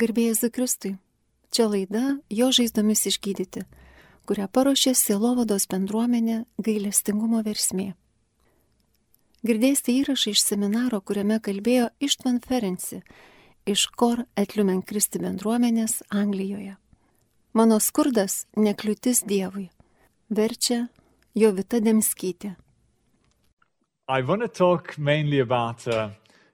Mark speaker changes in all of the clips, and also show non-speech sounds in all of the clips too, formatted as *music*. Speaker 1: Garbėjai Zikristui. Čia laida Jo žaizdomis išgydyti, kurią paruošė Silovados bendruomenė gailestingumo versmė. Girdėsite įrašą iš seminaro, kuriame kalbėjo Ištvan Ferenci iš Kor Etliumen Kristi bendruomenės Anglijoje. Mano skurdas nekliūtis Dievui. Verčia Jovita Demskytė.
Speaker 2: I want to talk mainly about uh,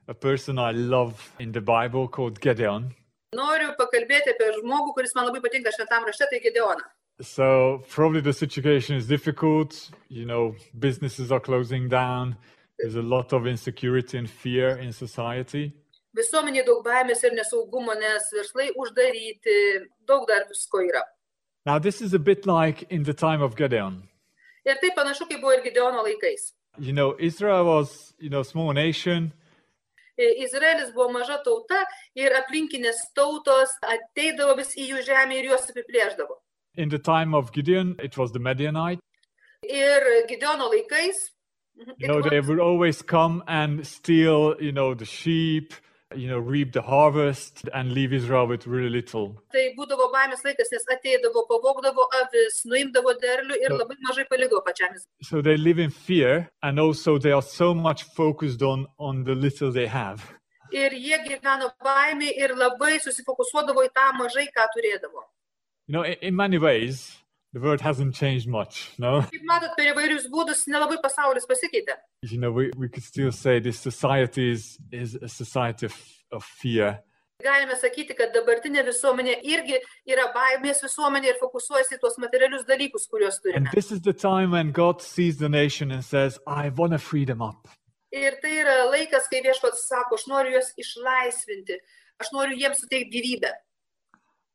Speaker 2: a person I love in the Bible called Gideon.
Speaker 3: Noriu pakalbėti apie žmogų, kuris man labai patinka šventam rašte, tai Gedeoną.
Speaker 2: So, probably the situation is difficult. You know, businesses are closing down. There's a lot of insecurity and fear in society.
Speaker 3: Visuomenė daug baimės ir nesaugumo, nes verslai uždaryti, daug dar visko yra.
Speaker 2: Now, this is a bit like in the time of Gideon.
Speaker 3: Ir tai panašu, kaip buvo ir Gedeono laikais.
Speaker 2: You know, Israel was, you know, small nation.
Speaker 3: I- Izraelis buvo maža tauta ir aplinkinės tautos ateidavo vis į jų žemę ir juos apiplėždavo.
Speaker 2: In the time of Gideon, it was the Midianite.
Speaker 3: Ir Gedeono laikais mhm,
Speaker 2: You know, they
Speaker 3: it was-
Speaker 2: would always come and steal, you know, the sheep, you know, reap the harvest and leave Israel with really little.
Speaker 3: tai būdavo baimės laikas, nes ateidavo, pavogdavo avis, nuimdavo derlių ir
Speaker 2: Jo.
Speaker 3: labai mažai palikdavo pačiam Izraeliui.
Speaker 2: So they live in fear and also they are so much focused on on the little they have.
Speaker 3: Ir jie gyveno baimė ir labai susifokusuodavo į tą mažai, ką turėdavo.
Speaker 2: You know, in, in many ways, the world hasn't changed much, no? *laughs*
Speaker 3: Kaip matot, per įvairius būdus nelabai pasaulis pasikeitė.
Speaker 2: You know, we, we could still say this society is, is a society of, of fear.
Speaker 3: Galime sakyti, kad dabartinė visuomenė irgi yra baimės visuomenė ir fokusuojasi į tuos materialius dalykus, kuriuos
Speaker 2: And
Speaker 3: turime.
Speaker 2: this is the time when God sees the nation and says, I want to free them up.
Speaker 3: Ir tai yra laikas, kai viešpats sako, aš noriu juos išlaisvinti, aš noriu jiems suteikti gyvybę.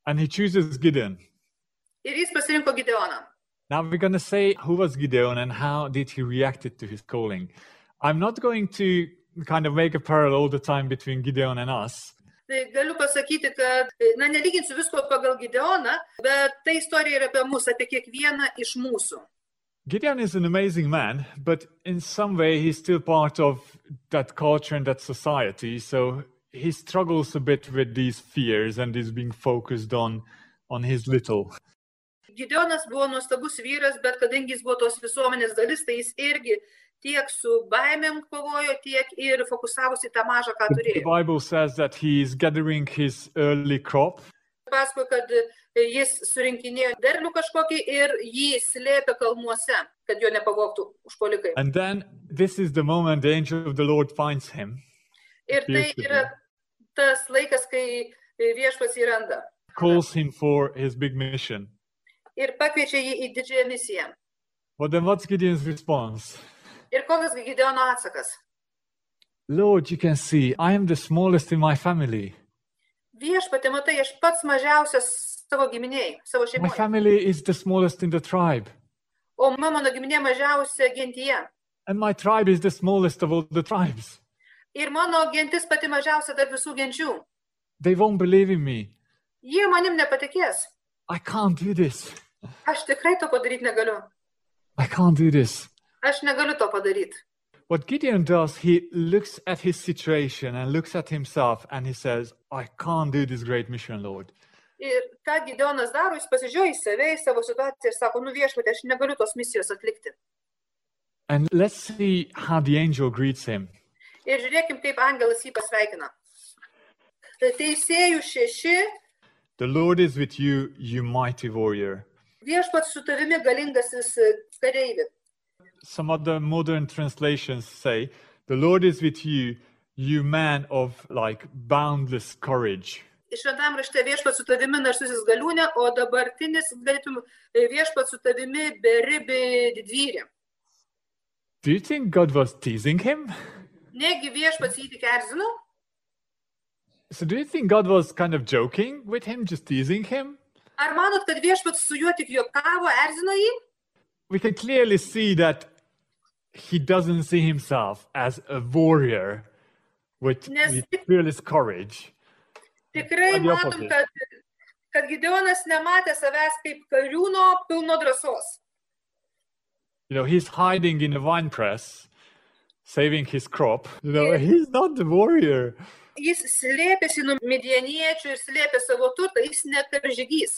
Speaker 2: And he chooses Gideon.
Speaker 3: Ir jis pasirinko Gideoną.
Speaker 2: Now we're going to say who was Gideon and how did he reacted to his calling. I'm not going to kind of make a parallel all the time between Gideon and us.
Speaker 3: Tai galiu pasakyti, kad, na, nelyginsiu visko pagal Gideoną, bet tai istorija yra apie mus, apie kiekvieną iš mūsų.
Speaker 2: Gideon is an amazing man, but in some way he's still part of that culture and that society. So he struggles a bit with these fears and is being focused on on his little.
Speaker 3: Gideonas buvo nuostabus vyras, bet kadangi jis buvo tos visuomenės dalis, tai jis irgi tiek su baimėm kovojo, tiek ir fokusavosi į tą mažą, ką
Speaker 2: The
Speaker 3: turėjo.
Speaker 2: Bible says that he is gathering his early crop
Speaker 3: Paskui, kad e, jis surinkinėjo derlių kažkokį ir jį slėpė kalnuose, kad jo nepavogtų užpolikai.
Speaker 2: and then this is the moment the angel of the Lord finds him,
Speaker 3: Ir tai yra tas laikas, kai viešpas jį randa
Speaker 2: calls him for his big mission.
Speaker 3: ir pakviečia jį į didžiąją misiją.
Speaker 2: Well then what's Gideon's response?
Speaker 3: Ir kokias Gideono atsakas?
Speaker 2: Lord, you can see I am the smallest in my family.
Speaker 3: Viešpatė, matai, aš pats mažiausias savo giminiai, savo
Speaker 2: My
Speaker 3: šeimoje.
Speaker 2: family is the smallest in the tribe.
Speaker 3: O ma- mano giminė mažiausia gentyje.
Speaker 2: And my tribe is the smallest of all the tribes.
Speaker 3: Ir mano gentis pati mažiausia tarp visų genčių.
Speaker 2: They won't believe in me.
Speaker 3: Jie manim nepatikės.
Speaker 2: I can't do this.
Speaker 3: Aš tikrai to padaryti negaliu.
Speaker 2: I can't do this.
Speaker 3: Aš negaliu to padaryti.
Speaker 2: What Gideon does, he looks at his situation and looks at himself and he says, I can't do this great mission, Lord.
Speaker 3: Ir ką Gideonas daro, jis pasižiūri į save, į savo situaciją ir sako, nu viešpatė, aš negaliu tos misijos atlikti.
Speaker 2: And let's see how the angel greets him.
Speaker 3: Ir žiūrėkim, kaip angelas jį pasveikina. Tai Teisėjų šeši,
Speaker 2: The Lord is with you, you mighty warrior.
Speaker 3: viešpats su tavimi galingasis kareivi.
Speaker 2: Some other modern translations say, The Lord is with you, you man of like boundless courage.
Speaker 3: Šventam rašte viešpats su tavimi narsusis galiūnė, o dabartinis, galėtum, viešpats su tavimi beribį didvyrį.
Speaker 2: Do you think God was teasing him?
Speaker 3: Negi viešpats jį tik erzino?
Speaker 2: So do you think God was kind of joking with him, just teasing him?
Speaker 3: Ar manot, kad viešpats su juo tik juokavo, erzino jį?
Speaker 2: We can clearly see that he doesn't see himself as a warrior with,
Speaker 3: Nes-
Speaker 2: with fearless courage.
Speaker 3: Tikrai
Speaker 2: Ar jo
Speaker 3: matom,
Speaker 2: paties?
Speaker 3: kad, kad Gideonas nematė savęs kaip kariūno pilno drąsos.
Speaker 2: You know, he's hiding in a wine press, saving his crop. You know, he's not the warrior.
Speaker 3: Jis slėpėsi nuo midieniečių ir slėpė savo turtą, jis neperžygys.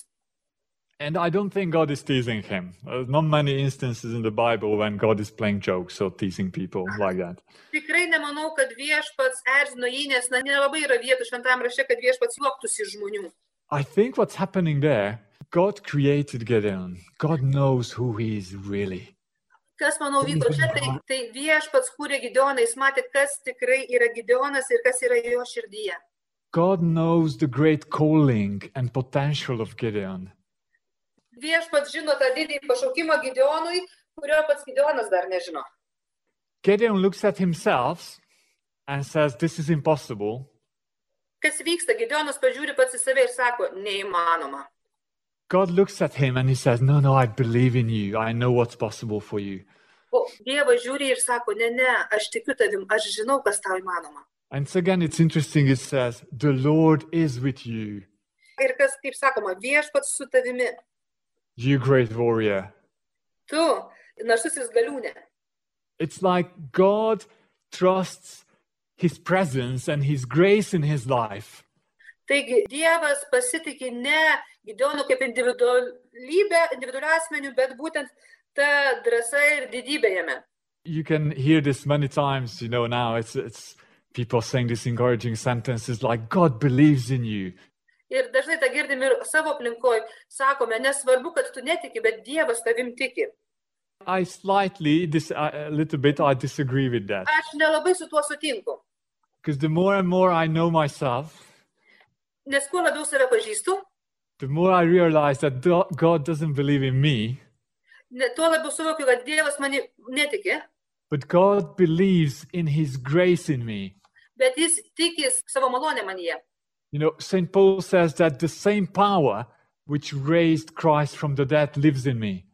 Speaker 2: And I don't think God is teasing him. There's not many instances in the Bible when God is playing jokes or teasing people like that.
Speaker 3: Tikrai nemanau, kad viešpats erzino jį, nes na, nelabai yra vietų šventame rašte, kad viešpats juoktųsi iš žmonių.
Speaker 2: I think what's happening there, God created Gedeon. God knows who he is really.
Speaker 3: Kas, manau, vyko čia, tai, tai viešpats kūrė Gideoną, jis matė, kas tikrai yra Gideonas ir kas yra jo širdyje.
Speaker 2: God knows the great calling and potential of Gideon.
Speaker 3: Viešpats žino tą didįjį pašaukimą Gideonui, kurio pats Gideonas dar nežino.
Speaker 2: Gideon looks at himself and says, This is impossible.
Speaker 3: Kas vyksta, Gideonas pažiūri pats į save ir sako, neįmanoma.
Speaker 2: God looks at him and he says, No, no, I believe in you. I know what's possible for you.
Speaker 3: O Dievas žiūri ir sako, ne, ne, aš tikiu tavim, aš žinau, kas tau įmanoma.
Speaker 2: And so again, it's interesting. It says, The Lord is with you,
Speaker 3: Ir kas, kaip sakoma, viešpats su tavimi,
Speaker 2: you great warrior.
Speaker 3: tu, narsusis galiūnė.
Speaker 2: It's like God trusts his presence and his grace in his life.
Speaker 3: Taigi Dievas pasitikė ne Gideonu kaip individualybę, individualių asmenių, bet būtent ta drąsa ir didybė jame.
Speaker 2: You can hear this many times, you know, now it's it's people saying these encouraging sentences like God believes in you.
Speaker 3: Ir dažnai tą girdim ir savo aplinkoje, sakome, nesvarbu, kad tu netiki, bet Dievas tavim tiki.
Speaker 2: I slightly dis- I- a little bit I disagree with that
Speaker 3: Aš nelabai su tuo sutinku,
Speaker 2: because the more and more I know myself,
Speaker 3: nes kuo labiau save pažįstu,
Speaker 2: the more I realize that do- God doesn't believe in me,
Speaker 3: ne- tuo labiau suvokiu, kad Dievas mani netiki,
Speaker 2: but God believes in his grace in me.
Speaker 3: bet jis tiki savo malonę manyje.
Speaker 2: You know, St. Paul says that the same power which raised Christ from the dead lives in me.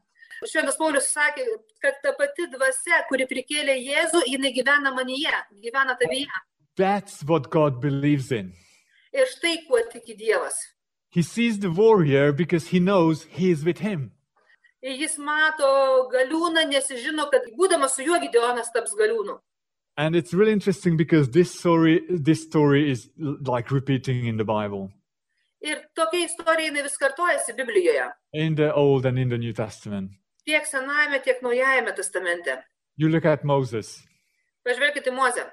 Speaker 3: Šventas Paulius sakė, kad ta pati dvasia, kuri prikėlė Jėzų, jinai gyvena manyje, gyvena tavyje.
Speaker 2: That's what God believes in.
Speaker 3: Ir štai kuo tiki Dievas.
Speaker 2: He sees the warrior because he knows he is with him.
Speaker 3: Ir jis mato galiūną, nes jis žino, kad būdamas su juo Gideonas taps galiūnu.
Speaker 2: And it's really interesting because this story this story is l- like repeating in the Bible,
Speaker 3: Ir tokia istorija jinai vis kartojasi Biblijoje.
Speaker 2: in the Old and in the New Testament.
Speaker 3: Tiek Senajame, tiek Naujajame testamente.
Speaker 2: You look at Moses.
Speaker 3: Pažvelkite į Mozę.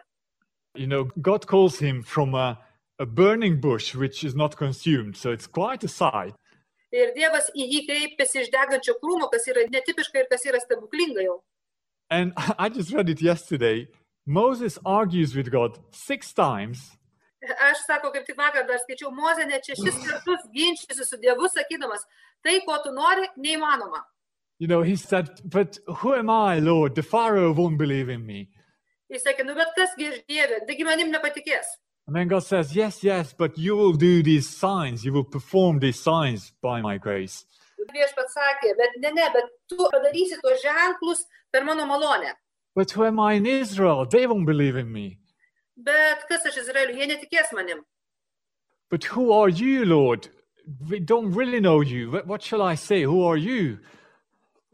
Speaker 2: You know, God calls him from a, a burning bush which is not consumed, so it's quite a sight.
Speaker 3: Ir Dievas į jį kreipiasi iš degančio krūmo, kas yra netipiška ir kas yra stebuklinga jau.
Speaker 2: And *laughs* I just read it yesterday. Moses argues with God six times
Speaker 3: Aš sako, kaip tik vakar dar skaičiau, Mozė ne šešis kartus ginčiasi su Dievu, sakydamas, tai, ko tu nori, neįmanoma.
Speaker 2: You know, he said, But who am I, Lord? The Pharaoh won't believe in me.
Speaker 3: Jis sakė, nu bet kasgi iš Dievė, taigi manim nepatikės.
Speaker 2: And then God says, Yes, yes, but you will do these signs. You will perform these signs by my grace.
Speaker 3: Viešpats sakė, bet ne, ne, bet tu padarysi tuos ženklus per mano malonę.
Speaker 2: But who am I in Israel? They won't believe in me.
Speaker 3: Bet kas aš Izraeliu, jie netikės manim.
Speaker 2: But who are you, Lord? We don't really know you. What, what shall I say? Who are you?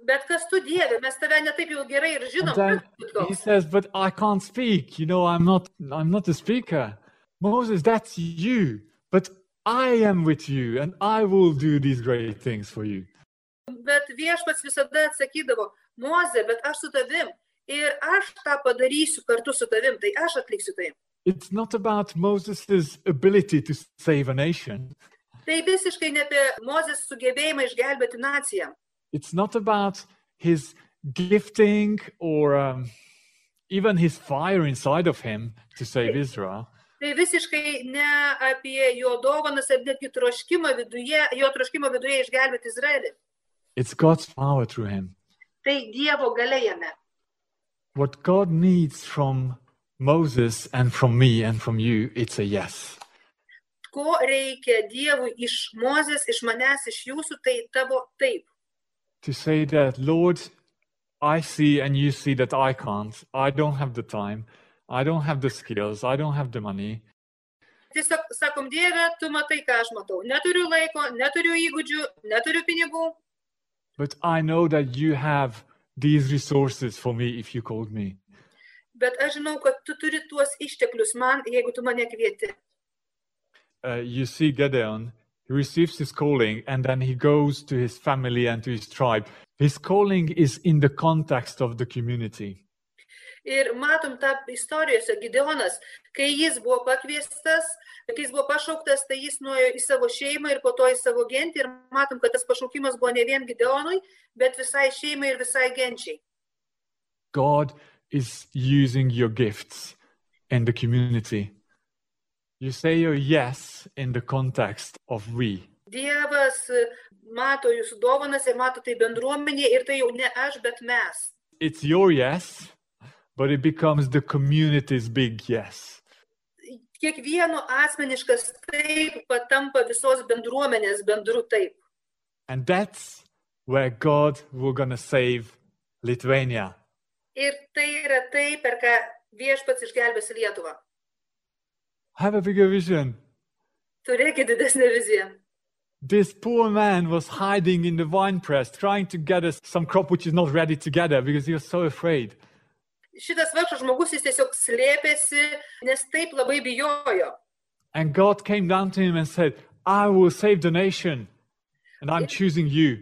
Speaker 3: Bet kas tu Dieve, mes tave netaip jau gerai ir *laughs*
Speaker 2: And
Speaker 3: žinom.
Speaker 2: then
Speaker 3: kas tu
Speaker 2: he
Speaker 3: toks.
Speaker 2: says, But I can't speak. You know, I'm not I'm not a speaker. Moses, that's you. But I am with you and I will do these great things for you.
Speaker 3: Bet viešpats visada atsakydavo, Moze, bet aš su tavim. Ir aš tą padarysiu kartu su tavim, tai aš atliksiu tai.
Speaker 2: It's not about Moses' ability to save a nation.
Speaker 3: Tai visiškai ne apie Mozės sugebėjimą išgelbėti naciją.
Speaker 2: It's not about his gifting or um, even his fire inside of him to save Israel.
Speaker 3: Tai visiškai ne apie jo dovanas ir netgi troškimą viduje, jo troškimą viduje išgelbėti Izraelį.
Speaker 2: It's God's power through him.
Speaker 3: Tai Dievo galėjame.
Speaker 2: What God needs from Moses and from me and from you, it's a yes.
Speaker 3: Ko reikia Dievui iš Mozės, iš manęs, iš jūsų, tai tavo taip.
Speaker 2: To say that, Lord, I see and you see that I can't. I don't have the time. I don't have the skills. I don't have the money.
Speaker 3: Tiesiog sakom, Dieve, tu matai, ką aš matau. Neturiu laiko, neturiu įgūdžių, neturiu pinigų,
Speaker 2: But I know that you have these resources for me if you called me.
Speaker 3: bet aš žinau, kad tu turi tuos išteklius man, jeigu tu mane kvieti.
Speaker 2: uh, you see Gedeon, he receives his calling and then he goes to his family and to his tribe. His calling is in the context of the community.
Speaker 3: Ir matom tą istorijose Gideonas, kai jis buvo pakviestas, kai jis buvo pašauktas, tai jis nuėjo į savo šeimą ir po to į savo gentį. Ir matom, kad tas pašaukimas buvo ne vien Gideonui, bet visai šeimai ir visai genčiai.
Speaker 2: God is using your gifts in the community. You say your yes in the context of we.
Speaker 3: Dievas e, mato jūsų dovanas ir mato tai bendruomenė ir tai jau ne aš, bet mes.
Speaker 2: It's your yes, but it becomes the community's big yes.
Speaker 3: Kiekvieno asmeniškas taip patampa visos bendruomenės bendru taip.
Speaker 2: And that's where God will gonna save Lithuania.
Speaker 3: Ir tai yra tai, per ką viešpats išgelbės Lietuvą.
Speaker 2: Have a bigger vision.
Speaker 3: Turėkit didesnę viziją.
Speaker 2: This poor man was hiding in the wine press, trying to gather some crop which is not ready to gather because he was so afraid.
Speaker 3: Šitas vargšas žmogus jis tiesiog slėpėsi, nes taip labai bijojo.
Speaker 2: And God came down to him and said, I will save the nation, and I'm choosing you.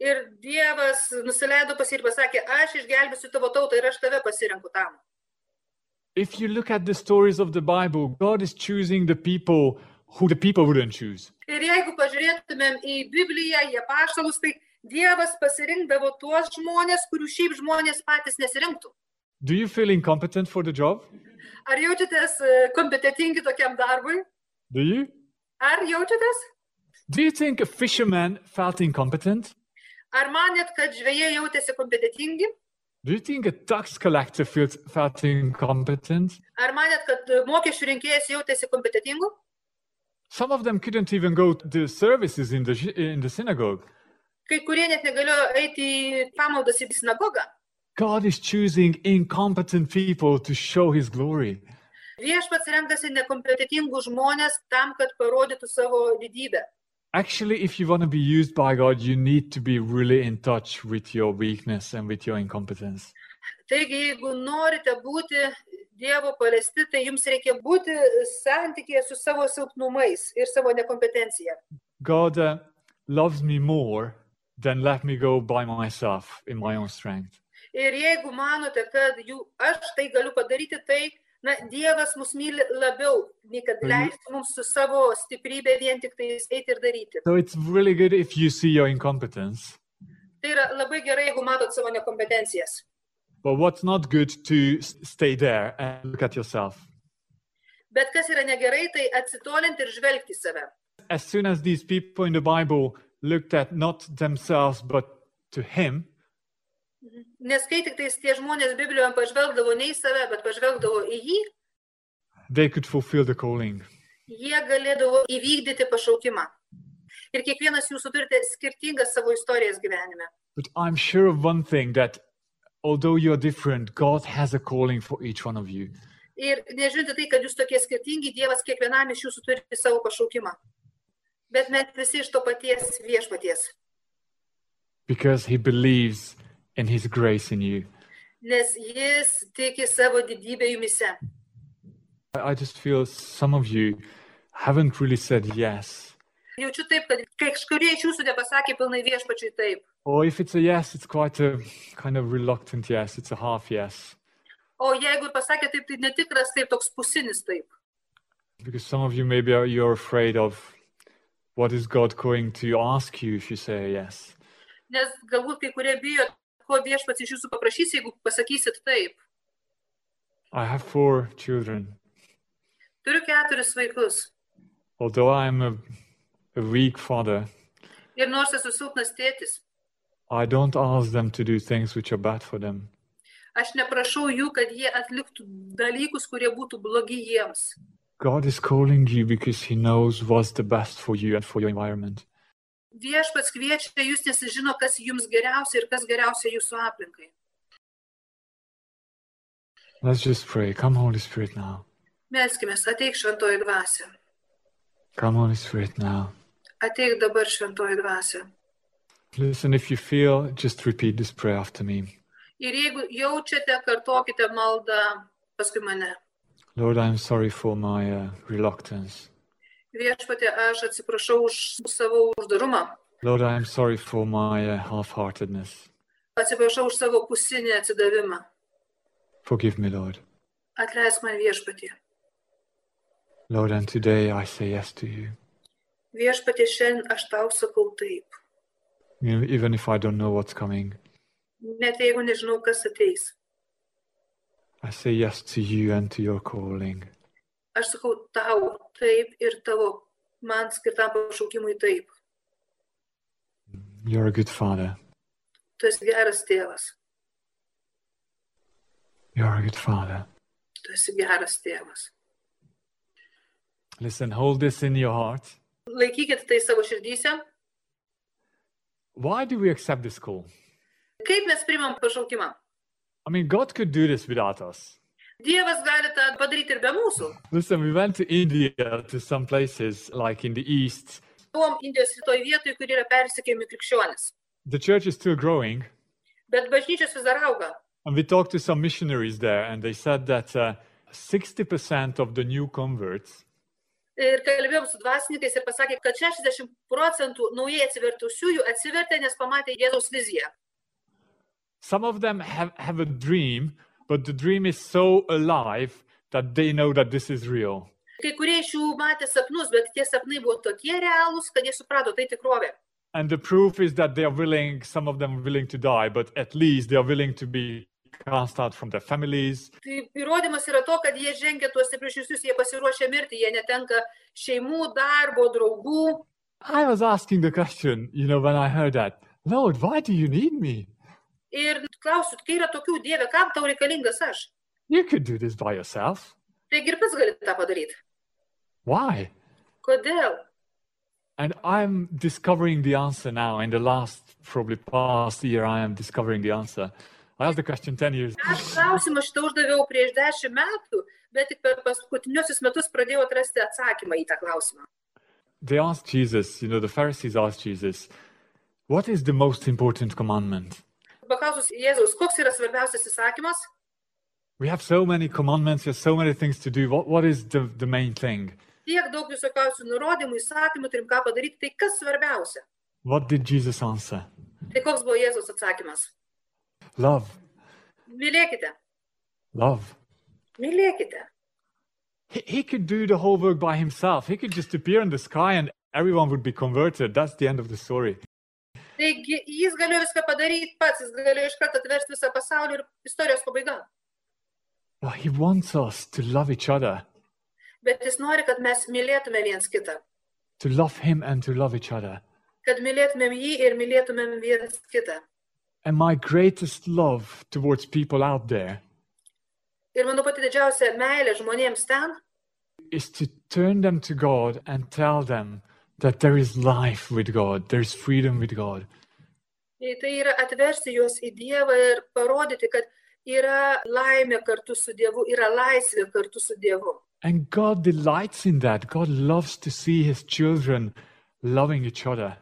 Speaker 3: Ir Dievas nusileido pas jį ir pasakė, aš išgelbėsiu tavo tautą ir aš tave pasirenku tam.
Speaker 2: If you look at the stories of the Bible, God is choosing the people who the people wouldn't choose.
Speaker 3: Ir jeigu pažiūrėtumėm į Bibliją, į apaštalus, tai Dievas pasirinkdavo tuos žmonės, kurių šiaip žmonės patys nesirinktų.
Speaker 2: Do you feel incompetent for the job?
Speaker 3: Ar jaučiatės e, kompetitingi tokiam darbui?
Speaker 2: Do you?
Speaker 3: Ar jaučiatės?
Speaker 2: Do you think a fisherman felt incompetent?
Speaker 3: Ar manėt, kad žvėjai jautėsi kompetitingi?
Speaker 2: Do you think a tax collector feels felt incompetent?
Speaker 3: Ar manėt, kad e, mokesčių rinkėjas jautėsi kompetitingu?
Speaker 2: Some of them couldn't even go to the services in the, sh- in the synagogue.
Speaker 3: Kai kurie net negalėjo eiti į pamaldas į sinagogą.
Speaker 2: God is choosing incompetent people to show his glory.
Speaker 3: Viešpats renkasi nekompetitingus žmonės tam, kad parodytų savo didybę.
Speaker 2: Actually, if you want to be used by God, you need to be really in touch with your weakness and with your incompetence.
Speaker 3: Taigi, jeigu norite būti Dievo palesti, tai jums reikia būti santykėje su savo silpnumais ir savo nekompetencija.
Speaker 2: God uh, loves me more than let me go by myself in my own strength.
Speaker 3: Ir jeigu manote, kad jų, aš tai galiu padaryti, tai na, Dievas mus myli labiau, nei kad
Speaker 2: Mhm.
Speaker 3: leistų mums su savo stiprybė vien tik tai eiti ir daryti.
Speaker 2: So it's really good if you see your incompetence.
Speaker 3: Tai yra labai gerai, jeigu matot savo nekompetencijas.
Speaker 2: But what's not good to s- stay there and look at yourself.
Speaker 3: Bet kas yra negerai, tai atsitolinti ir žvelgti į save.
Speaker 2: As soon as these people in the Bible looked at not themselves but to him,
Speaker 3: Nes kai tik tais tie žmonės Biblijoje pažvelgdavo ne į save, bet pažvelgdavo į jį,
Speaker 2: they could fulfill the calling.
Speaker 3: jie galėdavo įvykdyti pašaukimą. Ir kiekvienas jūsų turite skirtingas savo istorijas gyvenime.
Speaker 2: But I'm sure of one thing that although you're different, God has a calling for each one of you.
Speaker 3: Ir nežiūrint į tai, kad jūs tokie skirtingi, Dievas kiekvienam iš jūsų turi savo pašaukimą. Bet mes visi iš to paties viešpaties.
Speaker 2: because he believes in his grace in you.
Speaker 3: Nes jis tiki savo didybę jumise.
Speaker 2: I I just feel some of you haven't really said yes.
Speaker 3: Jaučiu taip, kad kažkurie iš jūsų nepasakė pilnai viešpačiui taip.
Speaker 2: Or if it's a yes, it's quite a kind of reluctant yes, it's a half yes.
Speaker 3: O jeigu ir pasakė taip, tai netikras taip, toks pusinis taip.
Speaker 2: Because some of you maybe are, you're afraid of what is God going to ask you if you say a yes.
Speaker 3: Nes galbūt kai kurie bijo, ko viešpats iš jūsų paprašys, jeigu pasakysit taip.
Speaker 2: I have four children.
Speaker 3: Turiu keturis vaikus.
Speaker 2: Although I'm a, a weak father,
Speaker 3: Ir nors esu silpnas tėtis,
Speaker 2: I don't ask them to do things which are bad for them.
Speaker 3: aš neprašau jų, kad jie atliktų dalykus, kurie būtų blogi jiems.
Speaker 2: God is calling you because he knows what's the best for you and for your environment.
Speaker 3: Viešpats kviečia jūs, nes jis žino, kas jums geriausia ir kas geriausia jūsų aplinkai.
Speaker 2: Let's just pray. Come, Holy Spirit, now.
Speaker 3: Melskime, ateik šventoji dvasia.
Speaker 2: Come, Holy Spirit, now.
Speaker 3: Ateik dabar šventoji dvasia.
Speaker 2: Listen, if you feel, just repeat this prayer after me.
Speaker 3: Ir jeigu jaučiate, kartokite maldą paskui mane.
Speaker 2: Lord, I'm sorry for my uh, reluctance.
Speaker 3: Viešpatė, aš atsiprašau už savo uždarumą,
Speaker 2: Lord, I am sorry for my uh, half heartedness.
Speaker 3: atsiprašau už savo pusinį atsidavimą.
Speaker 2: Forgive me, Lord.
Speaker 3: Atleisk man viešpatė.
Speaker 2: Lord, and today I say yes to you,
Speaker 3: Viešpatė, šiandien aš tau sakau taip,
Speaker 2: e- even if I don't know what's coming.
Speaker 3: net jeigu nežinau, kas ateis.
Speaker 2: I say yes to you and to your calling.
Speaker 3: Aš sakau tau taip ir tavo man skirtam pašaukimui taip.
Speaker 2: You're a good father.
Speaker 3: Tu esi geras tėvas,
Speaker 2: You're a good father.
Speaker 3: tu esi geras tėvas.
Speaker 2: Listen, hold this in your heart.
Speaker 3: Laikykit tai savo širdyse.
Speaker 2: Why do we accept this call?
Speaker 3: Kaip mes primam pašaukimą?
Speaker 2: I mean, God could do this without us.
Speaker 3: Dievas gali tą padaryti ir be mūsų.
Speaker 2: Listen, we went to India to some places like in the East.
Speaker 3: Buvom Indijos rytoj vietoj, kur yra persikėjami krikščionis.
Speaker 2: The church is still growing.
Speaker 3: Bet bažnyčios vis dar auga.
Speaker 2: And we talked to some missionaries there, and they said that uh, 60% of the new converts
Speaker 3: Ir kalbėjom su dvasininkais ir pasakė, kad 60 procentų naujai atsivertusiųjų atsivertė, nes pamatė Jėzaus viziją.
Speaker 2: Some of them have, have a dream, but the dream is so alive that they know that this is real.
Speaker 3: Kai kurie iš jų matė sapnus, bet tie sapnai buvo tokie realūs, kad jie suprato, tai tikrovė.
Speaker 2: And the proof is that they are willing, some of them are willing to die, but at least they are willing to be cast out from their families.
Speaker 3: Tai įrodymas yra to, kad jie žengia tuos stiprius žingsnius, jie pasiruošia mirti, jie netenka šeimų, darbo, draugų.
Speaker 2: I was asking the question, you know, when I heard that, Lord, why do you need me?
Speaker 3: Ir klausiu, kai yra tokių dievė, kam tau reikalingas aš?
Speaker 2: You could do this by yourself.
Speaker 3: Taigi ir pats gali tą padaryti.
Speaker 2: Why?
Speaker 3: Kodėl?
Speaker 2: And I'm discovering the answer now. In the last, probably past year, I am discovering the answer. I asked the question 10 years.
Speaker 3: Aš klausimą šitą uždaviau prieš dešimt metų, bet tik per paskutiniusius metus pradėjau atrasti atsakymą į tą klausimą.
Speaker 2: they asked Jesus, you know, the Pharisees asked Jesus, what is the most important commandment?
Speaker 3: Paklausus Jėzaus, koks yra svarbiausias įsakymas?
Speaker 2: We have so many commandments, there's so many things to do. What, what is the, the main thing?
Speaker 3: Tiek daug visokiausių nurodymų, įsakymų, turim ką padaryti, tai kas svarbiausia?
Speaker 2: What did Jesus answer?
Speaker 3: Tai koks buvo Jėzaus atsakymas?
Speaker 2: Love,
Speaker 3: Mylėkite,
Speaker 2: love.
Speaker 3: mylėkite.
Speaker 2: He, he could do the whole work by himself. He could just appear in the sky and everyone would be converted. That's the end of the story.
Speaker 3: Taigi jis galėjo viską padaryti pats, jis galėjo iš karto atversti visą pasaulį ir istorijos pabaiga.
Speaker 2: No, he wants us to love each other,
Speaker 3: Bet jis nori, kad mes mylėtume viens kitą,
Speaker 2: to love him and to love each other.
Speaker 3: kad mylėtumėm jį ir mylėtumėm viens kitą.
Speaker 2: And my greatest love towards people out there
Speaker 3: Ir manau pati didžiausia meilė žmonėms ten
Speaker 2: is to turn them to God and tell them that there is life with God, there's freedom with God.
Speaker 3: Tai tai yra atversti juos į Dievą ir parodyti, kad yra laimė kartu su Dievu, yra laisvė kartu su Dievu.
Speaker 2: And God delights in that. God loves to see his children loving each other.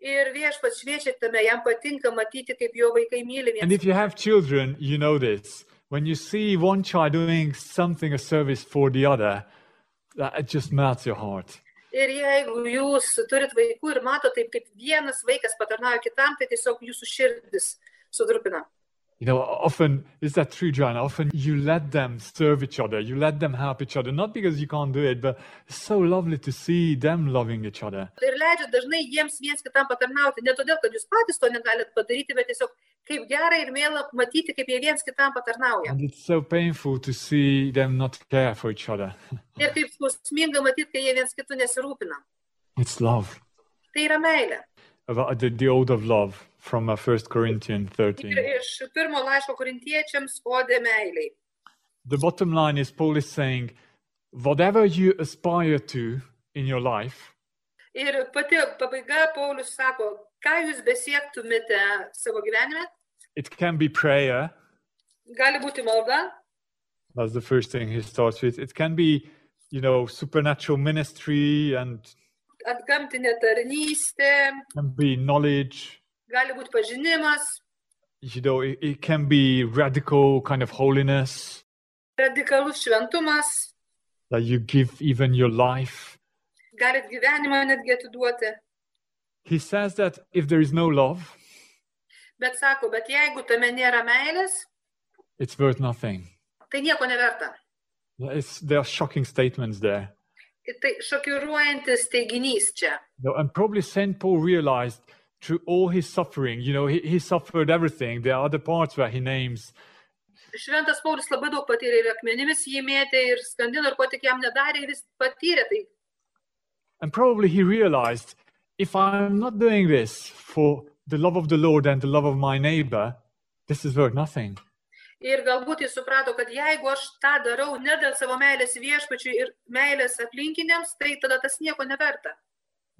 Speaker 3: Ir viešpats šviečia tame, jam patinka matyti, kaip jo vaikai myli
Speaker 2: And
Speaker 3: vieni.
Speaker 2: if you have children, you know this. When you see one child doing something, a service for the other, that it just melts your heart.
Speaker 3: Ir jeigu jūs turit vaikų ir mato taip, kaip vienas vaikas patarnauja kitam, tai tiesiog jūsų širdis sudrupina.
Speaker 2: You know, often, is that true, Joanna? Often you let them serve each other, you let them help each other, not because you can't do it, but it's so lovely to see them loving each other.
Speaker 3: Ir leidžiat dažnai jiems viens kitam patarnauti, ne todėl, kad jūs patys to negalite padaryti, bet tiesiog kaip gerai ir mėla matyti, kaip jie viens kitam patarnauja.
Speaker 2: And it's so painful to see them not care for each other.
Speaker 3: Ir kaip skausminga matyti, kai jie viens kitų nesirūpina.
Speaker 2: It's love.
Speaker 3: Tai yra meilė.
Speaker 2: About the, the ode of love from uh, 1 Corinthians
Speaker 3: Ir
Speaker 2: 13.
Speaker 3: iš pirmo laiško korintiečiams odė meiliai.
Speaker 2: The bottom line is Paul is saying, whatever you aspire to in your life,
Speaker 3: Ir pati pabaiga Paulius sako, ką jūs besiektumėte savo gyvenime,
Speaker 2: it can be prayer.
Speaker 3: gali būti malda,
Speaker 2: That's the first thing he starts with. It can be, you know, supernatural ministry and
Speaker 3: atgamtinė tarnystė,
Speaker 2: can be knowledge.
Speaker 3: gali būti pažinimas,
Speaker 2: You know, it, it can be radical kind of holiness
Speaker 3: radikalus šventumas,
Speaker 2: that you give even your life
Speaker 3: galit gyvenimą netgi atiduoti.
Speaker 2: He says that if there is no love,
Speaker 3: Bet sako, bet jeigu tame nėra meilės,
Speaker 2: it's worth nothing.
Speaker 3: tai nieko neverta.
Speaker 2: It's, there are shocking statements there.
Speaker 3: Ir Tai šokiruojantis teiginys čia.
Speaker 2: No, and probably St. Paul realized through all his suffering, you know, he, he suffered everything. There are other parts where he names,
Speaker 3: Šventas Paulius labai daug patyrė ir akmenimis jį mėtė, ir skandino, ir ko tik jam nedarė, ir jis patyrė tai.
Speaker 2: and probably he realized if I'm not doing this for the love of the Lord and the love of my neighbor, this is worth nothing.
Speaker 3: Ir galbūt jis suprato, kad jeigu aš tą darau ne dėl savo meilės viešpačiui ir meilės aplinkiniams, tai tada tas nieko neverta.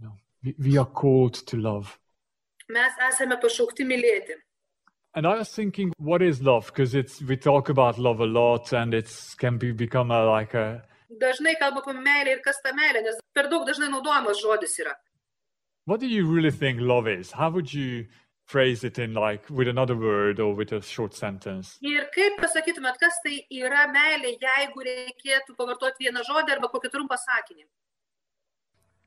Speaker 2: No, we, we are called to love.
Speaker 3: Mes esame pašaukti mylėti.
Speaker 2: And I was thinking, what is love? Because it's we talk about love a lot, and it's can be become a, like a
Speaker 3: Dažnai kalba apie meilę ir kas ta meilė, nes per daug dažnai naudojamas žodis yra.
Speaker 2: What do you really think love is? How would you phrase it in like with another word or with a short sentence?
Speaker 3: Ir kaip pasakytumėt, kas tai yra meilė, jeigu reikėtų pavartoti vieną žodį arba kokį trumpą sakinį?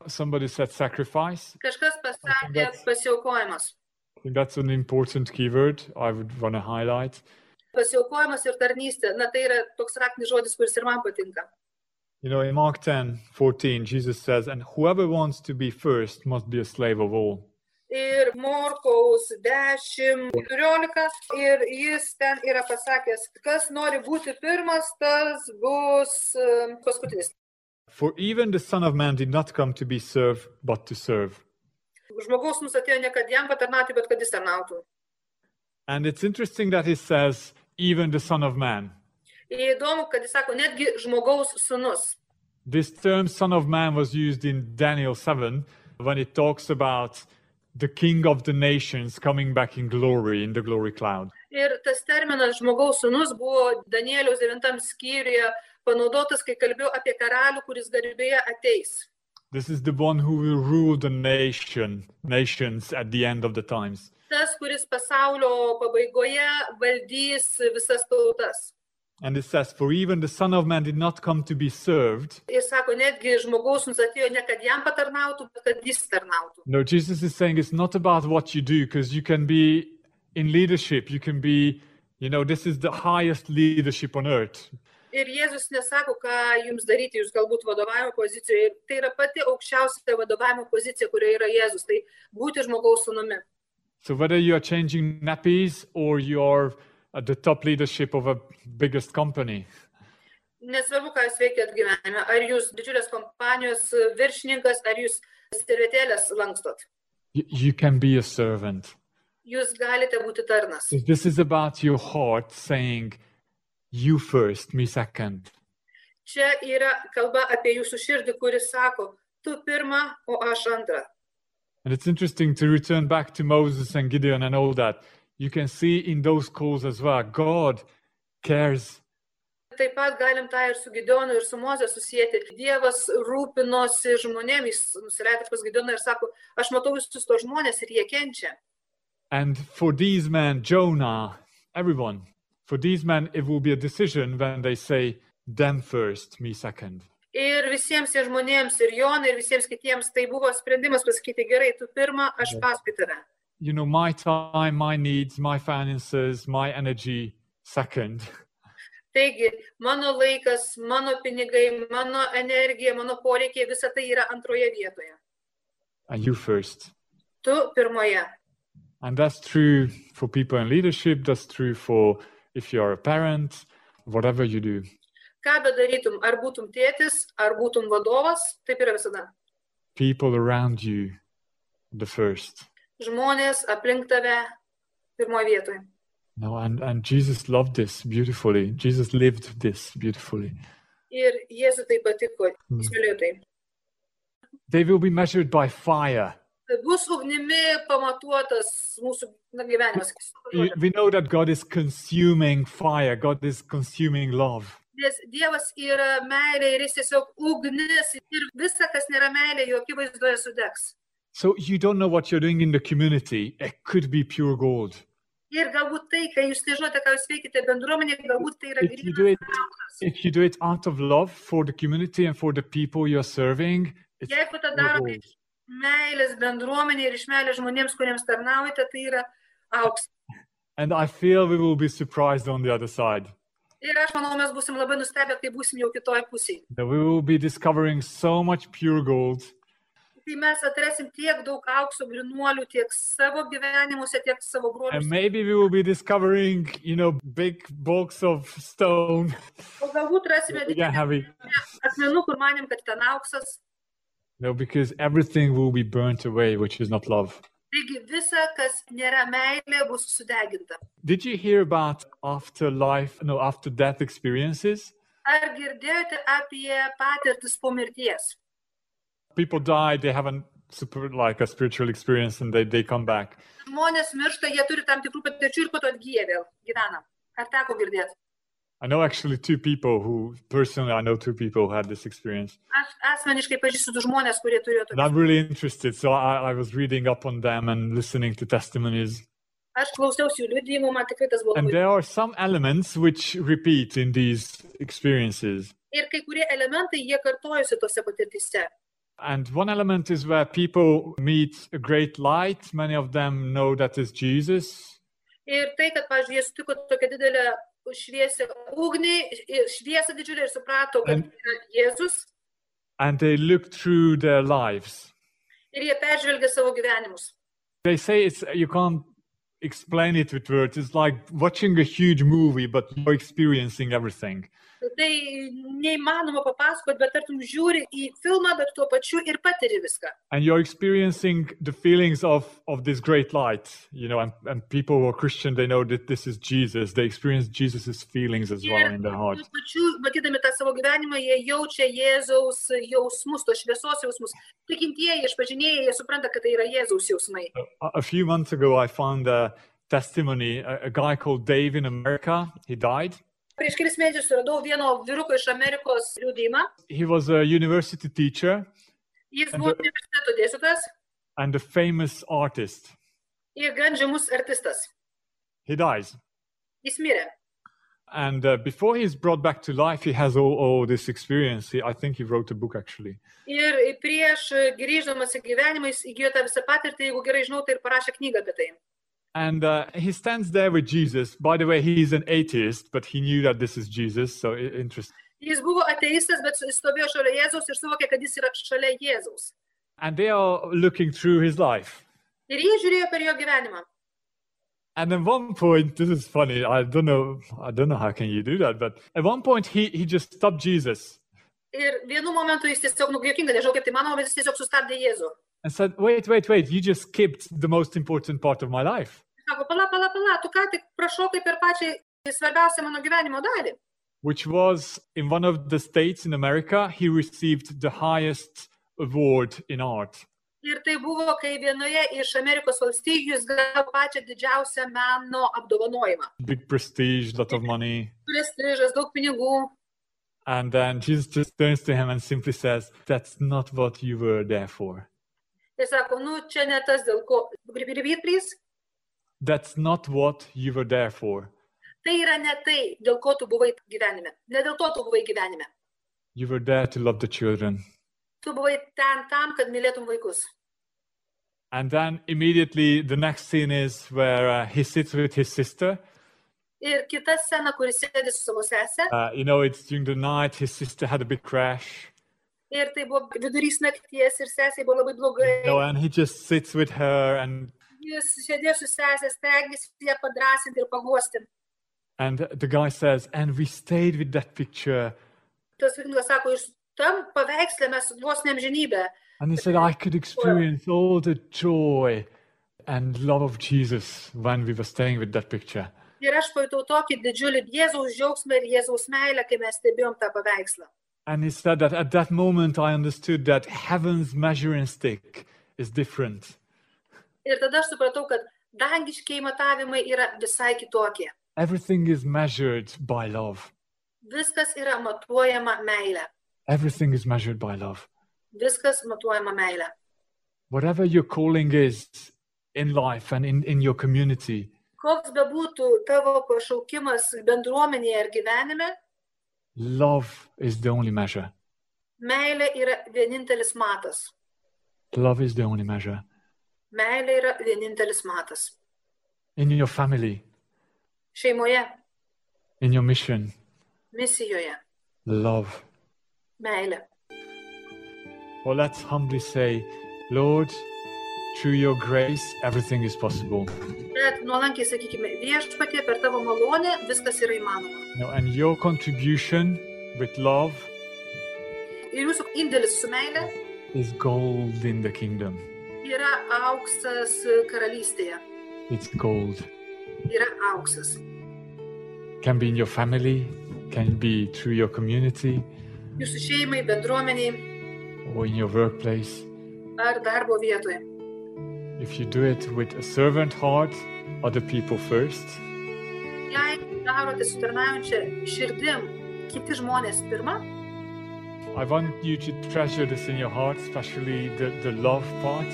Speaker 2: Somebody said sacrifice.
Speaker 3: Kažkas pasakė
Speaker 2: That's-
Speaker 3: pasiaukojimas.
Speaker 2: I think that's an important keyword I would want to highlight.
Speaker 3: Pasiaukojimas ir tarnystė, na tai yra toks raktinis žodis, kuris ir man patinka.
Speaker 2: You know, in Mark 10 14, Jesus says, And whoever wants to be first must be a slave of all.
Speaker 3: Ir Morkaus 10.14 ir jis ten yra pasakęs, kas nori būti pirmas, tas bus e, paskutinis.
Speaker 2: For even the Son of Man did not come to be served, but to serve.
Speaker 3: Žmogaus mums atėjo ne kad jam patarnauti, bet kad jis tarnautų.
Speaker 2: And it's interesting that he says, Even the Son of Man.
Speaker 3: Ir įdomu, kad jis sako, netgi žmogaus sunus.
Speaker 2: This term Son of Man was used in Daniel 7 when it talks about the King of the nations coming back in glory in the glory cloud.
Speaker 3: Ir tas terminas žmogaus sunus buvo Danieliaus 9 skyriuje panaudotas, kai kalbėjau apie karalių, kuris garbėje ateis.
Speaker 2: This is the one who will rule the nation, nations at the end of the times.
Speaker 3: Tas, kuris pasaulio pabaigoje valdys visas tautas.
Speaker 2: And it says, For even the Son of Man did not come to be served.
Speaker 3: Ir sako, netgi žmogaus mums atėjo ne kad jam patarnautų, bet kad jis tarnautų.
Speaker 2: No, Jesus is saying it's not about what you do, because you can be in leadership, you can be, you know, this is the highest leadership on earth.
Speaker 3: Ir Jėzus nesako, ką jums daryti, jūs galbūt vadovavimo pozicijoje. Ir tai yra pati aukščiausia vadovavimo pozicija, kurioje yra Jėzus. Tai būti žmogaus sunumi.
Speaker 2: So whether you are changing nappies or you're at the top leadership of a biggest company,
Speaker 3: Nesvarbu, ką jūs veikėt gyvenime. Ar jūs didžiulės kompanijos viršininkas, ar jūs servetėlės lankstot.
Speaker 2: y- you can be a servant.
Speaker 3: Jūs galite būti tarnas.
Speaker 2: So this is about your heart saying, "You first, me second.
Speaker 3: Čia yra kalba apie jūsų širdį, kuris sako, tu pirma, o aš antra.
Speaker 2: And it's interesting to return back to Moses and Gideon and all that. You can see in those calls as well, God cares.
Speaker 3: Taip pat galim tą ir su Gideonu, ir su Moze susijęti. Dievas rūpinosi žmonėmis, jis nusileido pas Gideoną ir sako, aš matau visus to žmonės ir jie kenčia.
Speaker 2: And for these men, Jonah, everyone, for these men, it will be a decision when they say, them first, me second.
Speaker 3: Ir visiems tie žmonėms, ir Jonai, ir visiems kitiems tai buvo sprendimas pasakyti, gerai, tu pirmą, aš paskui tave.
Speaker 2: you know, my time, my needs, my finances, my energy second. *laughs*
Speaker 3: Taigi, mano laikas, mano pinigai, mano energija, mano poreikiai, visa tai yra antroje vietoje.
Speaker 2: And you first.
Speaker 3: Tu pirmoje.
Speaker 2: And that's true for people in leadership. That's true for if you're a parent, whatever you do.
Speaker 3: Ką bedarytum, ar būtum tėtis, ar būtum vadovas, taip yra visada.
Speaker 2: People around you, the first.
Speaker 3: Žmonės aplink tave pirmoje vietoje.
Speaker 2: No, and, and Jesus loved this beautifully. Jesus lived this beautifully.
Speaker 3: Ir Jėzui tai patiko,
Speaker 2: Mm.
Speaker 3: jis mylėjo tai.
Speaker 2: They will be measured by fire.
Speaker 3: Tai Bus ugnimi pamatuotas mūsų na, gyvenimas.
Speaker 2: You- We know that God is consuming fire, God is consuming love.
Speaker 3: Nes Dievas yra meilė ir jis tiesiog ugnis ir visa, kas nėra meilė, jokie vaizdoje sudegs.
Speaker 2: So you don't know what you're doing in the community. It could be pure gold.
Speaker 3: Ir galbūt tai, kai jūs nežinote, ką jūs veikite bendruomenėje, galbūt tai yra
Speaker 2: If you do
Speaker 3: grynas
Speaker 2: it,
Speaker 3: auksas.
Speaker 2: if you do it out of love for the community and for the people you're serving, It's
Speaker 3: Jeigu tą
Speaker 2: so
Speaker 3: darote
Speaker 2: old.
Speaker 3: iš meilės bendruomenė ir iš meilės žmonėms, kuriems tarnaujate, tai yra auks.
Speaker 2: And I feel we will be surprised on the other side.
Speaker 3: Ir aš manau, mes busim labai nustebę, kai busim jau kitoj pusėje.
Speaker 2: That we will be discovering so much pure gold
Speaker 3: Kai Tai mes atrasim tiek daug aukso grinuolių tiek savo gyvenimuose, tiek savo
Speaker 2: and
Speaker 3: broliuose.
Speaker 2: maybe we will be discovering you know big blocks of stone
Speaker 3: O galbūt
Speaker 2: *laughs*
Speaker 3: rasime
Speaker 2: we can have it
Speaker 3: asmenų, kur manim, kad ten auksas.
Speaker 2: no because everything will be burnt away which is not love
Speaker 3: Taigi visa, kas nėra meilė, bus sudeginta.
Speaker 2: did you hear about afterlife no after death experiences
Speaker 3: Ar girdėjote apie patirtis po mirties?
Speaker 2: people die they have a super like a spiritual experience and they, they come back
Speaker 3: Žmonės miršta, jie turi tam tikrų patirčių ir po to atgyja vėl gyvena. Ar teko girdėti?
Speaker 2: i know actually two people who personally i know two people who had this experience
Speaker 3: Aš asmeniškai pažįstu du žmonės, kurie turėjo
Speaker 2: and
Speaker 3: tokį.
Speaker 2: i'm really interested so i, I was reading up on them and listening to testimonies
Speaker 3: Aš klausiausi jų liudijimų, man tikrai tas buvo.
Speaker 2: and
Speaker 3: labai-
Speaker 2: there are some elements which repeat in these experiences
Speaker 3: Ir kai kurie elementai, jie kartojosi tose patirtise.
Speaker 2: And one element is where people meet a great light. Many of them know that is Jesus.
Speaker 3: Ir tai, kad, pavyzdžiui, jie sutiko tokią didelę šviesę ugnį, ir šviesą didžiulę ir suprato, kad
Speaker 2: Em.
Speaker 3: tai yra Jėzus.
Speaker 2: And they look through their lives.
Speaker 3: Ir jie peržvelgia savo gyvenimus.
Speaker 2: They say it's you can't explain it with words. It's like watching a huge movie, but you're experiencing everything.
Speaker 3: Tai neįmanoma papasakoti, bet tartum žiūri į filmą, bet tuo pačiu ir patiri viską.
Speaker 2: And you're experiencing the feelings of, of this great light, you know, and, and people who are Christian, they know that this is Jesus. They experience Jesus' feelings as well
Speaker 3: Ir
Speaker 2: in their heart.
Speaker 3: tuo pačiu, matydami tą savo gyvenimą, jie jaučia Jėzaus jausmus, to šviesos jausmus. Tikintieji, išpažinėjai, jie supranta, kad tai yra Jėzaus jausmai.
Speaker 2: A a few months ago, I found a testimony. A, a guy called Dave in America, he died.
Speaker 3: Prieš kelis mėnesius radau vieno vyruko iš Amerikos liūdėjimą.
Speaker 2: He was a university teacher
Speaker 3: Jis buvo universiteto dėstytojas
Speaker 2: and a famous artist.
Speaker 3: ir gan žymus artistas.
Speaker 2: He dies.
Speaker 3: Jis mirė.
Speaker 2: And uh, before he's brought back to life, he has all, all this experience. He, I think he wrote a book actually.
Speaker 3: Ir prieš grįždamas į gyvenimą jis įgyjo tą visą patirtį, jeigu gerai žinau, tai ir parašė knygą apie tai.
Speaker 2: And uh, he stands there with Jesus. By the way, he's an atheist, but he knew that this is Jesus. So i- interesting.
Speaker 3: Jis buvo ateistas, bet jis stovėjo šalia Jėzaus ir suvokė, kad jis yra šalia Jėzaus.
Speaker 2: And they are looking through his life.
Speaker 3: Ir jie žiūrėjo per jo gyvenimą.
Speaker 2: And at one point, this is funny. I don't know. I don't know how can you do that. But at one point, he he just stopped Jesus
Speaker 3: Ir vienu momentu jis tiesiog, nu, jokinga, nežinau kaip tai manoma, bet jis tiesiog sustabdė Jėzų.
Speaker 2: and said, "Wait, wait, wait! You just skipped the most important part of my life,
Speaker 3: Jis Sako, pala, pala, pala, tu ką tik prašokai per pačią svarbiausią mano gyvenimo dalį.
Speaker 2: which was in one of the states in America. He received the highest award in art,
Speaker 3: Ir tai buvo, kai vienoje iš Amerikos valstybių jis gavo pačią didžiausią meno apdovanojimą.
Speaker 2: big prestige, lot of money."
Speaker 3: Prestižas, daug pinigų.
Speaker 2: And then Jesus just turns to him and simply says, "That's not what you were there for.
Speaker 3: Ir sako, nu, čia ne tas, dėl ko. Gribirbitrys,
Speaker 2: That's not what you were there for.
Speaker 3: tai yra ne tai, dėl ko tu buvai gyvenime. Ne dėl to tu buvai gyvenime.
Speaker 2: You were there to love the children."
Speaker 3: Tu buvai ten tam, kad mylėtum vaikus.
Speaker 2: And then immediately the next scene is where uh, he sits with his sister.
Speaker 3: Ir kita scena, kuris sėdi su savo sesė.
Speaker 2: Uh, you know, it's during the night. His sister had a big crash.
Speaker 3: Ir tai buvo vidurys nakties ir sesiai buvo labai
Speaker 2: You know,
Speaker 3: blogai.
Speaker 2: and he just sits with her, and
Speaker 3: Jis sėdėjo su sesė, stengiasi ją padrasinti ir paguosti.
Speaker 2: and the guy says, "And we stayed with that picture."
Speaker 3: Tas vikingas sako, iš tam paveikslė mes vos nemžinybę.
Speaker 2: And he said, "I could experience all the joy and love of Jesus when we were staying with that picture."
Speaker 3: Ir aš pajutau tokį didžiulį Jėzaus džiaugsmą ir Jėzaus meilę, kai mes stebėjom tą paveikslą.
Speaker 2: And he said that at that moment I understood that heaven's measuring stick is different.
Speaker 3: Ir tada aš supratau, kad dangiškiai matavimai yra visai kitokie.
Speaker 2: Everything is measured by love.
Speaker 3: Viskas yra matuojama meilė.
Speaker 2: Everything is measured by love.
Speaker 3: Viskas matuojama meilė.
Speaker 2: whatever your calling is in life and in, in your community,
Speaker 3: Koks bebūtų tavo pašaukimas bendruomenėje ar gyvenime,
Speaker 2: love is the only measure.
Speaker 3: Meilė yra vienintelis matas.
Speaker 2: Love is the only measure.
Speaker 3: Meilė yra vienintelis matas.
Speaker 2: In your family,
Speaker 3: Šeimoje,
Speaker 2: in your mission,
Speaker 3: misijoje,
Speaker 2: love.
Speaker 3: meilė.
Speaker 2: Well, let's humbly say, Lord, through your grace, everything is possible.
Speaker 3: Bet nuolankiai sakykime, viešpatie per tavo malonę viskas yra įmanoma.
Speaker 2: You know, and your contribution with love
Speaker 3: Ir jūsų indėlis su meilė
Speaker 2: is gold in the kingdom.
Speaker 3: yra auksas karalystėje.
Speaker 2: It's gold.
Speaker 3: Yra auksas.
Speaker 2: Can be in your family, can be through your community
Speaker 3: Jūsų šeimai, bendruomeniai
Speaker 2: or in your workplace.
Speaker 3: ar darbo vietoje.
Speaker 2: If you do it with a servant heart, other people first,
Speaker 3: Jei darote su tarnaujančia širdim, kiti žmonės pirmą,
Speaker 2: I want you to treasure this in your heart, especially the, the love part.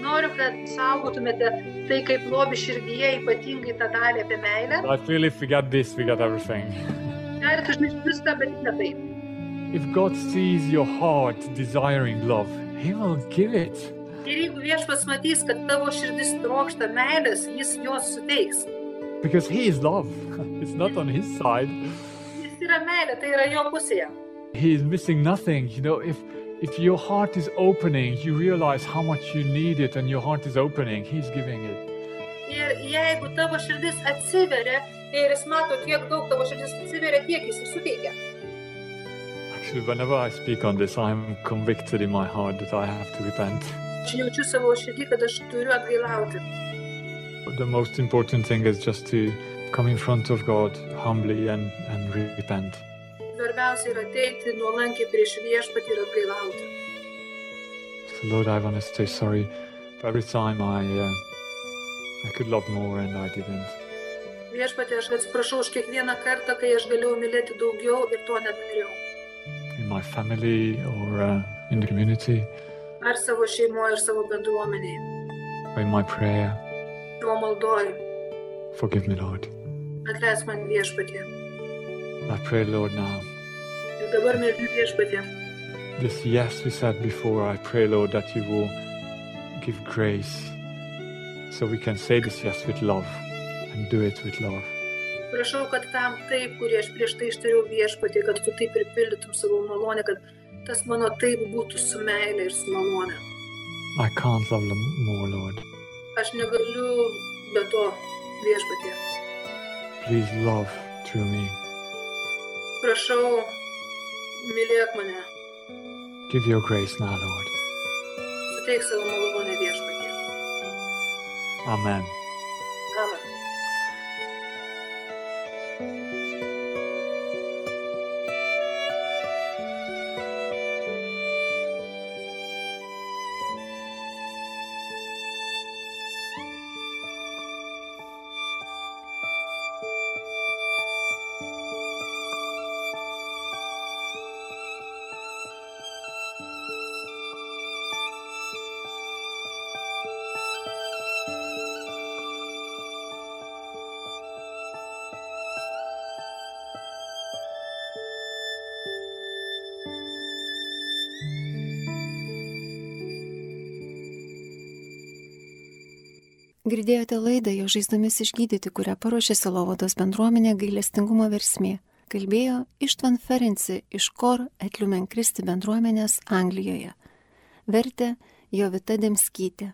Speaker 3: noriu, kad saugotumėte tai kaip lobi širdyje, ypatingai tą dalį apie meilę.
Speaker 2: I feel if we got this, we got everything.
Speaker 3: Galite užmiršti viską, bet ne tai.
Speaker 2: If God sees your heart desiring love, He will give it.
Speaker 3: Ir jeigu viešpas matys, kad tavo širdis trokšta meilės, jis jos suteiks.
Speaker 2: Because He is love. *laughs* It's not on His side.
Speaker 3: Jis yra meilė, tai yra jo pusėje.
Speaker 2: He is missing nothing. You know, if if your heart is opening, you realize how much you need it and your heart is opening, He's giving it.
Speaker 3: Ir jeigu tavo širdis atsiveria ir jis mato, kiek daug tavo širdis atsiveria, tiek jis ir suteikia.
Speaker 2: Actually, whenever I speak on this, I'm convicted in my heart that I have to repent.
Speaker 3: Aš jaučiu savo širdį, kad aš turiu atgailauti.
Speaker 2: But the most important thing is just to come in front of God humbly and, and repent.
Speaker 3: Svarbiausia yra ateiti nuolankiai prieš viešpatį ir atgailauti.
Speaker 2: So Lord, I want to say sorry for every time I uh, I could love more and I didn't.
Speaker 3: Viešpatį aš atsiprašau už kiekvieną kartą, kai aš galėjau mylėti daugiau ir to nedariau.
Speaker 2: in my family or uh, in the community,
Speaker 3: Ar savo šeimoje, ar savo bendruomenėje.
Speaker 2: or in my prayer.
Speaker 3: Tuo maldoju,
Speaker 2: Forgive me, Lord.
Speaker 3: atleis man viešpatį.
Speaker 2: I pray, Lord, now.
Speaker 3: Ir dabar mėlyni viešpatė,
Speaker 2: This yes we said before, I pray, Lord, that you will give grace so we can say this yes with love and do it with love.
Speaker 3: prašau, kad tam taip, kurį aš prieš tai ištariau viešpatė, kad tu taip ir pildytum savo malonę, kad tas mano taip būtų su meilė ir su malonė.
Speaker 2: I can't love them more, Lord.
Speaker 3: Aš negaliu be to viešpatė.
Speaker 2: Please love through me.
Speaker 3: Prašau, mylėk mane,
Speaker 2: Give your grace now, Lord.
Speaker 3: suteik savo malonę viešpatė.
Speaker 2: Amen.
Speaker 3: Amen.
Speaker 1: Girdėjote laidą jo žaizdomis išgydyti, kurią paruošė Silovados bendruomenė gailestingumo versmė. Kalbėjo Ištvan Ferenci iš Kor Etliumen Kristi bendruomenės Anglijoje. Vertė Jovita Demskytė.